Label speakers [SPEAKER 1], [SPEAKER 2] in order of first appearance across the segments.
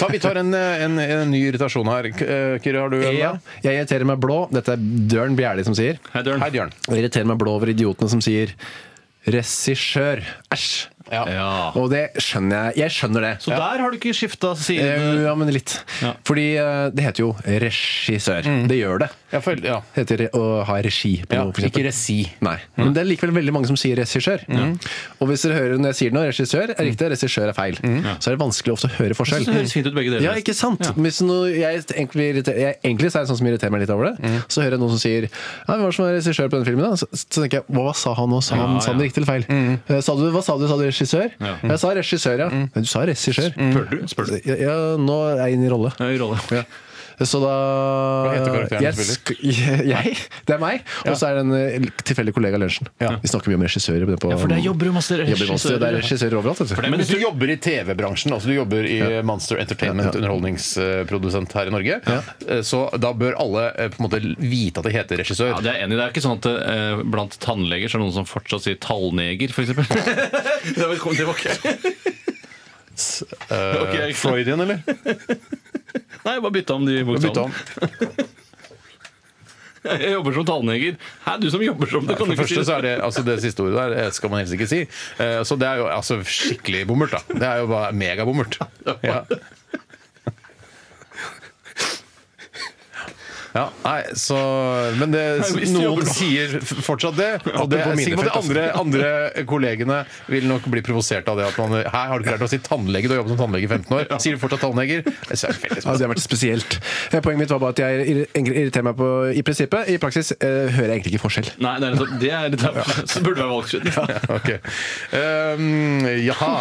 [SPEAKER 1] Ta, vi tar en, eh, en, en ny irritasjon her. K- eh, Kyrre, har du en?
[SPEAKER 2] Ja.
[SPEAKER 1] da? Jeg irriterer meg blå. Dette er Dørn Bjæli som sier.
[SPEAKER 3] Hei, Dørn.
[SPEAKER 1] Hei, Bjørn. Jeg irriterer meg blå over idiotene som sier regissør. Æsj.
[SPEAKER 3] Ja.
[SPEAKER 1] Og det skjønner jeg. Jeg skjønner det.
[SPEAKER 3] Så der har du ikke skifta side?
[SPEAKER 1] Eh, Ja, men litt.
[SPEAKER 3] Ja. Mm.
[SPEAKER 1] Fordi eh, det heter jo regissør. Det gjør det.
[SPEAKER 2] Jeg føler, ja.
[SPEAKER 1] Det heter å ha regi på
[SPEAKER 2] Ja,
[SPEAKER 1] noe. for eksempel.
[SPEAKER 2] ikke resi.
[SPEAKER 1] Nei.
[SPEAKER 3] Mm.
[SPEAKER 1] Men det er likevel veldig mange som sier regissør. Og hvis dere hører når jeg sier noe, regissør er riktig, regissør er feil, så er det vanskelig ofte å høre
[SPEAKER 3] Jeg
[SPEAKER 1] forskjell.
[SPEAKER 3] synes det Mm. høres fint ut, begge deler.
[SPEAKER 1] Ja, ikke sant? Hvis noe, jeg, egentlig, irriter- jeg, egentlig så er det sånn som irriterer meg litt over det.
[SPEAKER 3] Mm.
[SPEAKER 1] Så hører jeg noen som sier ja, 'Hvem var det som var regissør på denne filmen?' da? Så, så tenker jeg 'Hva sa han nå? Sa han, sa
[SPEAKER 3] Ja,
[SPEAKER 1] han
[SPEAKER 3] ja. Mm.
[SPEAKER 1] det riktig eller feil?' Eh, Sa du, 'Hva sa du? Sa du regissør?'
[SPEAKER 3] Ja. Mm.
[SPEAKER 1] Jeg sa regissør, ja. Men du sa regissør.
[SPEAKER 3] Spør du? Spør du?
[SPEAKER 1] Ja, ja, nå er jeg inne i rolle.
[SPEAKER 3] Ja, i rolle.
[SPEAKER 1] Så da
[SPEAKER 2] Hva heter karakteren
[SPEAKER 1] jeg,
[SPEAKER 2] du spiller?
[SPEAKER 1] sk- jeg? Det er meg. Og så er det en eh, tilfeldig kollega av lunsjen. Vi snakker mye om regissører. på-
[SPEAKER 3] Ja, for der jobber jo masse
[SPEAKER 1] Jobber masse. Det er
[SPEAKER 3] regissører.
[SPEAKER 1] regissører overalt. vet du.
[SPEAKER 3] det er
[SPEAKER 2] Men
[SPEAKER 3] Men
[SPEAKER 2] hvis du jobber i TV-bransjen, altså du jobber i Monster Entertainment,
[SPEAKER 1] Ja, ja.
[SPEAKER 2] underholdningsprodusent her i Norge, eh, så da bør alle eh, på en måte vite at det heter regissør.
[SPEAKER 3] Ja, det er jeg enig. i. Det er ikke sånn at eh, blant tannleger så er det noen som fortsatt sier tallneger, f.eks. det var det var ikke
[SPEAKER 2] Eh,
[SPEAKER 3] ok, ikke sant.
[SPEAKER 2] Freudian, Eh, eller?
[SPEAKER 3] Nei, bare bytta om de
[SPEAKER 2] Bytte
[SPEAKER 3] bokstavene.
[SPEAKER 2] om.
[SPEAKER 3] Jeg jobber som tallneger. Hæ, du som jobber som det,
[SPEAKER 2] For
[SPEAKER 3] kan
[SPEAKER 2] det
[SPEAKER 3] du ikke si
[SPEAKER 2] første
[SPEAKER 3] det.
[SPEAKER 2] så er det altså det siste ordet der eh, skal man helst ikke si. Eh, Så det er jo altså skikkelig bommert, da. Det er jo bare megabommert. Ja. Ja, nei, så Men det,
[SPEAKER 3] Nei, hvis du
[SPEAKER 2] noen
[SPEAKER 3] jobber nå.
[SPEAKER 2] sier f- fortsatt det. Og det
[SPEAKER 1] Apropos
[SPEAKER 2] er sikkert at
[SPEAKER 1] minefelt,
[SPEAKER 2] andre, andre kollegene vil nok bli provosert av det. At man, her har du ikke lært å si tannlege, du har jobbet som tannlege i 15 år. Sier du fortsatt tannleger? Det er veldig spesielt.
[SPEAKER 1] Ja, Altså, det har vært spesielt. Eh, Poenget mitt var bare at jeg irri- irriterer meg på i prinsippet. I praksis eh, hører jeg egentlig ikke forskjell.
[SPEAKER 3] Nei, det er nettopp- det er, det er, så burde det være valgskjønn.
[SPEAKER 2] Ok. Um, jaha.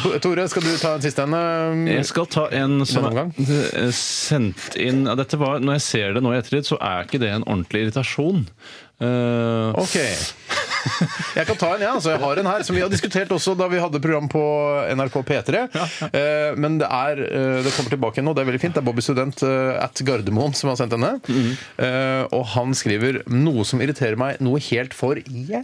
[SPEAKER 2] To- Tore, skal du ta en siste en? eh?
[SPEAKER 3] Jeg skal ta en som
[SPEAKER 2] Denne omgang?
[SPEAKER 3] er eh, sendt inn ja, dette var, Når jeg ser det nå i ettertid, så er ikke det en ordentlig irritasjon. Eh,
[SPEAKER 2] Ok. Jeg kan ta en, jeg. Ja. Altså, jeg har en her som vi har diskutert også da vi hadde program på NRK P3. Eh, Men det er eh, Det kommer tilbake igjen nå, det er veldig fint. Det er Bobby Student eh, at Gardermoen som har sendt denne. Eh, Og han skriver noe som irriterer meg noe helt for jævlig,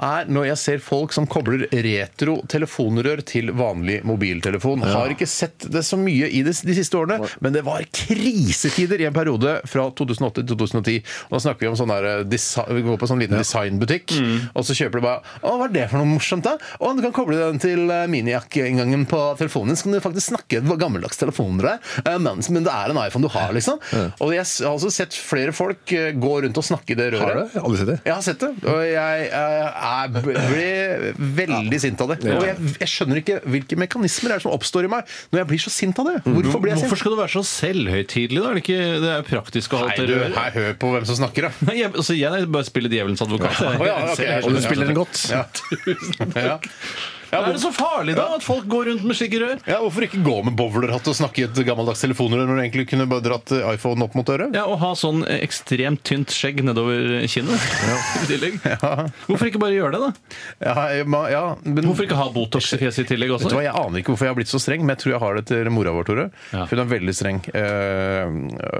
[SPEAKER 2] er når jeg ser folk som kobler retro telefonrør til vanlig mobiltelefon. Har ikke sett det så mye i de, de siste årene, men det var krisetider i en periode fra 2008 til 2010. Og da snakker vi om sånn der eh, desi- Vi går på sånn liten designbutikk,
[SPEAKER 1] Mm.
[SPEAKER 2] og så kjøper du bare Å, hva er det for noe morsomt, da? Å, du kan koble den til eh, minijakkeinngangen på telefonen. Så kan du faktisk snakke med gammeldags telefoner der. eh, Men, men det er en iPhone du har, liksom. Og jeg s- har også sett flere folk eh, gå rundt og snakke i det røret.
[SPEAKER 1] Har du? Jeg har Aldri sett det.
[SPEAKER 2] Jeg har sett det, og jeg, eh, er- ble veldig sint av det. Og jeg, jeg skjønner ikke hvilke mekanismer er det som oppstår i meg når jeg blir så sint av det. Hvorfor blir jeg
[SPEAKER 3] Hvorfor
[SPEAKER 2] sint?
[SPEAKER 3] skal du være så selvhøytidelig, da? Er det, ikke, det er jo praktisk å ha
[SPEAKER 2] Nei,
[SPEAKER 3] alt det
[SPEAKER 2] du,
[SPEAKER 3] røret.
[SPEAKER 2] her, hør på hvem som snakker, da.
[SPEAKER 3] Nei, jeg, altså, jeg bare spiller djevelens advokat. jeg.
[SPEAKER 2] Å, ja, ok, jeg
[SPEAKER 3] Jeg
[SPEAKER 1] Og
[SPEAKER 3] ser-
[SPEAKER 1] du
[SPEAKER 2] skjønner.
[SPEAKER 1] spiller den godt.
[SPEAKER 2] Ja. Ja. Ja,
[SPEAKER 3] Er det
[SPEAKER 2] hvor,
[SPEAKER 3] så farlig, da? At folk går rundt med slike rør?
[SPEAKER 2] ja, hvorfor ikke gå med bowlerhatt og snakke i et gammeldags telefonrør når du egentlig kunne bare dratt eh, iPhone opp mot øret?
[SPEAKER 3] Ja, Å ha sånn ekstremt tynt skjegg nedover kinnet i tillegg. Hvorfor ikke bare gjøre det, da?
[SPEAKER 2] Ja, jeg- ma- ja, men,
[SPEAKER 3] Hvorfor ikke ha Botox i fjeset i tillegg
[SPEAKER 2] Vet du hva,
[SPEAKER 3] også?
[SPEAKER 2] Jeg aner ikke hvorfor jeg har blitt så streng, men jeg tror jeg har det til mora vår, Tore.
[SPEAKER 3] Ja.
[SPEAKER 2] For hun er veldig streng. eh,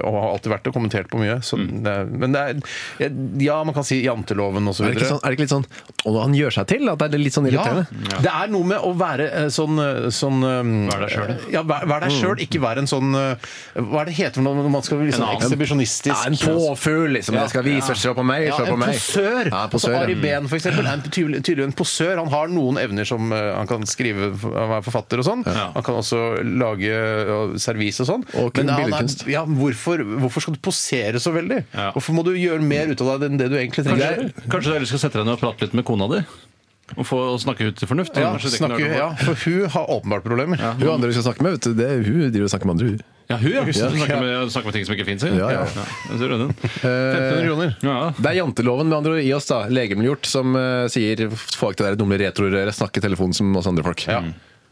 [SPEAKER 2] og har alltid vært det, og kommentert på mye. Så
[SPEAKER 3] Mm.
[SPEAKER 2] det, er- men det er Ja, man kan si janteloven og så
[SPEAKER 1] Er det,
[SPEAKER 2] videre.
[SPEAKER 1] ikke sånn, er det ikke litt sånn Å, han gjør seg til? At det er litt sånn
[SPEAKER 2] ja.
[SPEAKER 1] irriterende?
[SPEAKER 2] Det er noe med å være eh, sånn, eh, sånn eh,
[SPEAKER 3] Vær deg selv, Mm.
[SPEAKER 2] Ja, vær, vær deg sjøl, ikke vær en sånn eh, Hva er det heter for noe når man skal bli
[SPEAKER 3] En
[SPEAKER 2] sånn
[SPEAKER 3] annen.
[SPEAKER 2] ekshibisjonistisk?
[SPEAKER 1] Ja, en påfugl, liksom. Jeg skal vise, se på meg,
[SPEAKER 2] Ja,
[SPEAKER 1] se på
[SPEAKER 2] en
[SPEAKER 1] meg.
[SPEAKER 2] posør.
[SPEAKER 1] Ja,
[SPEAKER 2] altså
[SPEAKER 1] posør,
[SPEAKER 2] Ari
[SPEAKER 1] ja.
[SPEAKER 2] Behn for eksempel, er en tydelig, tydelig en posør. Han har noen evner som eh, han kan skrive, han er forfatter og sånn. Han kan også lage eh, servis og sånn.
[SPEAKER 1] Og kun
[SPEAKER 2] Men han er,
[SPEAKER 1] billedkunst.
[SPEAKER 2] ja, hvorfor, hvorfor skal du posere så veldig?
[SPEAKER 3] Ja.
[SPEAKER 2] Hvorfor må du gjøre mer ut av deg enn det du egentlig trenger?
[SPEAKER 3] Kanskje, kanskje du heller skal sette deg ned og prate litt med kona di? Og, få, og snakke ut til fornuft?
[SPEAKER 2] Ja,
[SPEAKER 3] Kanskje det ikke er
[SPEAKER 2] snakke,
[SPEAKER 3] noe
[SPEAKER 2] ja, for hun har åpenbart problemer.
[SPEAKER 1] Hun andre du skal snakke med, vet du, det er hun driver og snakker med andre. hun.
[SPEAKER 3] Ja, hun, ja. Som
[SPEAKER 2] Ja.
[SPEAKER 3] snakker, med, snakker med ting som ikke fins.
[SPEAKER 1] Ja, ja.
[SPEAKER 3] jeg ser den.
[SPEAKER 2] 1500 kroner.
[SPEAKER 3] Ja.
[SPEAKER 1] Det er janteloven med andre ord i oss, da, legemliggjort, som eh, sier få ikke det der dumle retrorøret, snakk i telefonen som oss andre folk.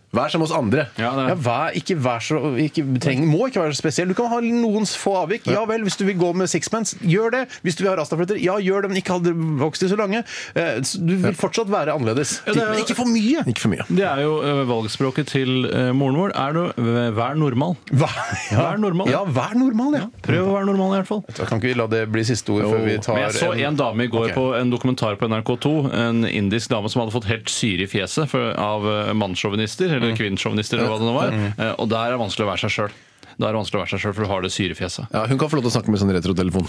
[SPEAKER 1] Vær som oss andre.
[SPEAKER 3] Ja, det
[SPEAKER 2] Ja,
[SPEAKER 3] er.
[SPEAKER 2] vær, ikke vær så, ikke, trenger, må ikke være så spesiell. Du kan ha noen få avvik. Ja vel, hvis du vil gå med sixpence, gjør det. Hvis du vil ha rastafletter, ja, gjør det. Men ikke ha det vokst i så lange. Eh, så Du vil fortsatt være annerledes.
[SPEAKER 3] Ja, det er jo-
[SPEAKER 2] Men ikke for mye.
[SPEAKER 1] Ikke for mye.
[SPEAKER 3] Det er jo ø, valgspråket til ø, moren vår. Er du, vær normal. Vær normal.
[SPEAKER 2] Ja, vær normal, ja.
[SPEAKER 3] Prøv å være normal, i hvert fall.
[SPEAKER 2] Da kan ikke vi la det bli siste ord før vi tar
[SPEAKER 3] Men jeg så en dame i går
[SPEAKER 2] Ok.
[SPEAKER 3] på en dokumentar på NRK2. En indisk dame som hadde fått helt syre i fjeset for, av eh, mannssjåvinister.
[SPEAKER 2] Mm.
[SPEAKER 3] eller kvinnsjåvinister, eller hva det nå var. Eh, Og der er det vanskelig å være seg sjøl. Da er det vanskelig å være seg sjøl, for du har det syrefjeset.
[SPEAKER 1] Ja, hun kan få lov til å snakke med sånn retrotelefon.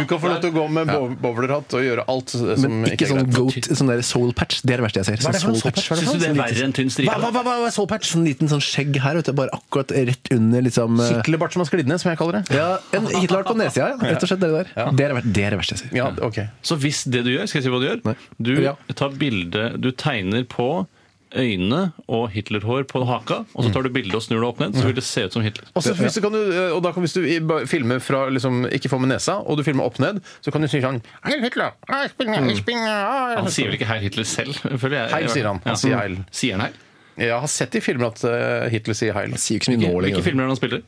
[SPEAKER 2] Du kan få lov til å gå med bo- bowlerhatt og gjøre alt som
[SPEAKER 1] Men ikke sånn
[SPEAKER 2] greit.
[SPEAKER 1] goat, sånn der soul patch. Det er det verste jeg ser.
[SPEAKER 2] Hva er det for
[SPEAKER 1] Sånn
[SPEAKER 2] en soul patch? Hva er det
[SPEAKER 3] Syns
[SPEAKER 1] Sånn
[SPEAKER 3] du det er
[SPEAKER 1] liten-
[SPEAKER 3] verre enn tynn
[SPEAKER 1] Hva,
[SPEAKER 3] stripe?
[SPEAKER 1] hva, hva, hva, hva er soul patch? Sånn liten sånn skjegg her, vet du. Bare akkurat rett under, liksom eh,
[SPEAKER 2] Kiklebart som har sklidd ned, som jeg kaller det.
[SPEAKER 1] Ja, en Hitler på nedsida, ja. Rett og slett det der. Det, er det, ver- det er det verste jeg ser.
[SPEAKER 2] Ja, ok.
[SPEAKER 3] Så hvis det du gjør, skal jeg si hva du gjør?
[SPEAKER 1] Nei. Ja.
[SPEAKER 3] Du tar bilde Du tegner på øynene og Hitlerhår på haka, og så tar du bilde og snur det opp ned, så vil det se ut som Hitler.
[SPEAKER 2] Og, så hvis, du kan, du- og da kan, hvis du i- ba- filmer fra liksom, ikke får med nesa, og du filmer opp ned, så kan du si sånn Heil Hitler! Heil, Spinner, Spinner,
[SPEAKER 3] Han
[SPEAKER 2] Heil.
[SPEAKER 3] sier vel ikke 'Heil Hitler' selv? føler jeg.
[SPEAKER 2] Heil, sier han. Han
[SPEAKER 3] Ja.
[SPEAKER 2] sier heil.
[SPEAKER 3] Sier han heil?
[SPEAKER 2] Jeg har sett i filmer at eh, Hitler sier heil.
[SPEAKER 1] Sier jo ikke så mye nå
[SPEAKER 3] Hvilke
[SPEAKER 1] lenger.
[SPEAKER 3] filmer er det han spiller?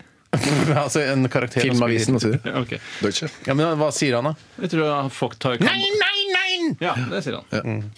[SPEAKER 2] altså en karakter som
[SPEAKER 1] Filmavisen og så videre.
[SPEAKER 3] Ja, ok.
[SPEAKER 1] Deutsche.
[SPEAKER 2] spiller- Ja, men Hva sier han, da?
[SPEAKER 3] Jeg tror han folk tar
[SPEAKER 2] Nei, nei, nei!
[SPEAKER 3] Ja, det sier han.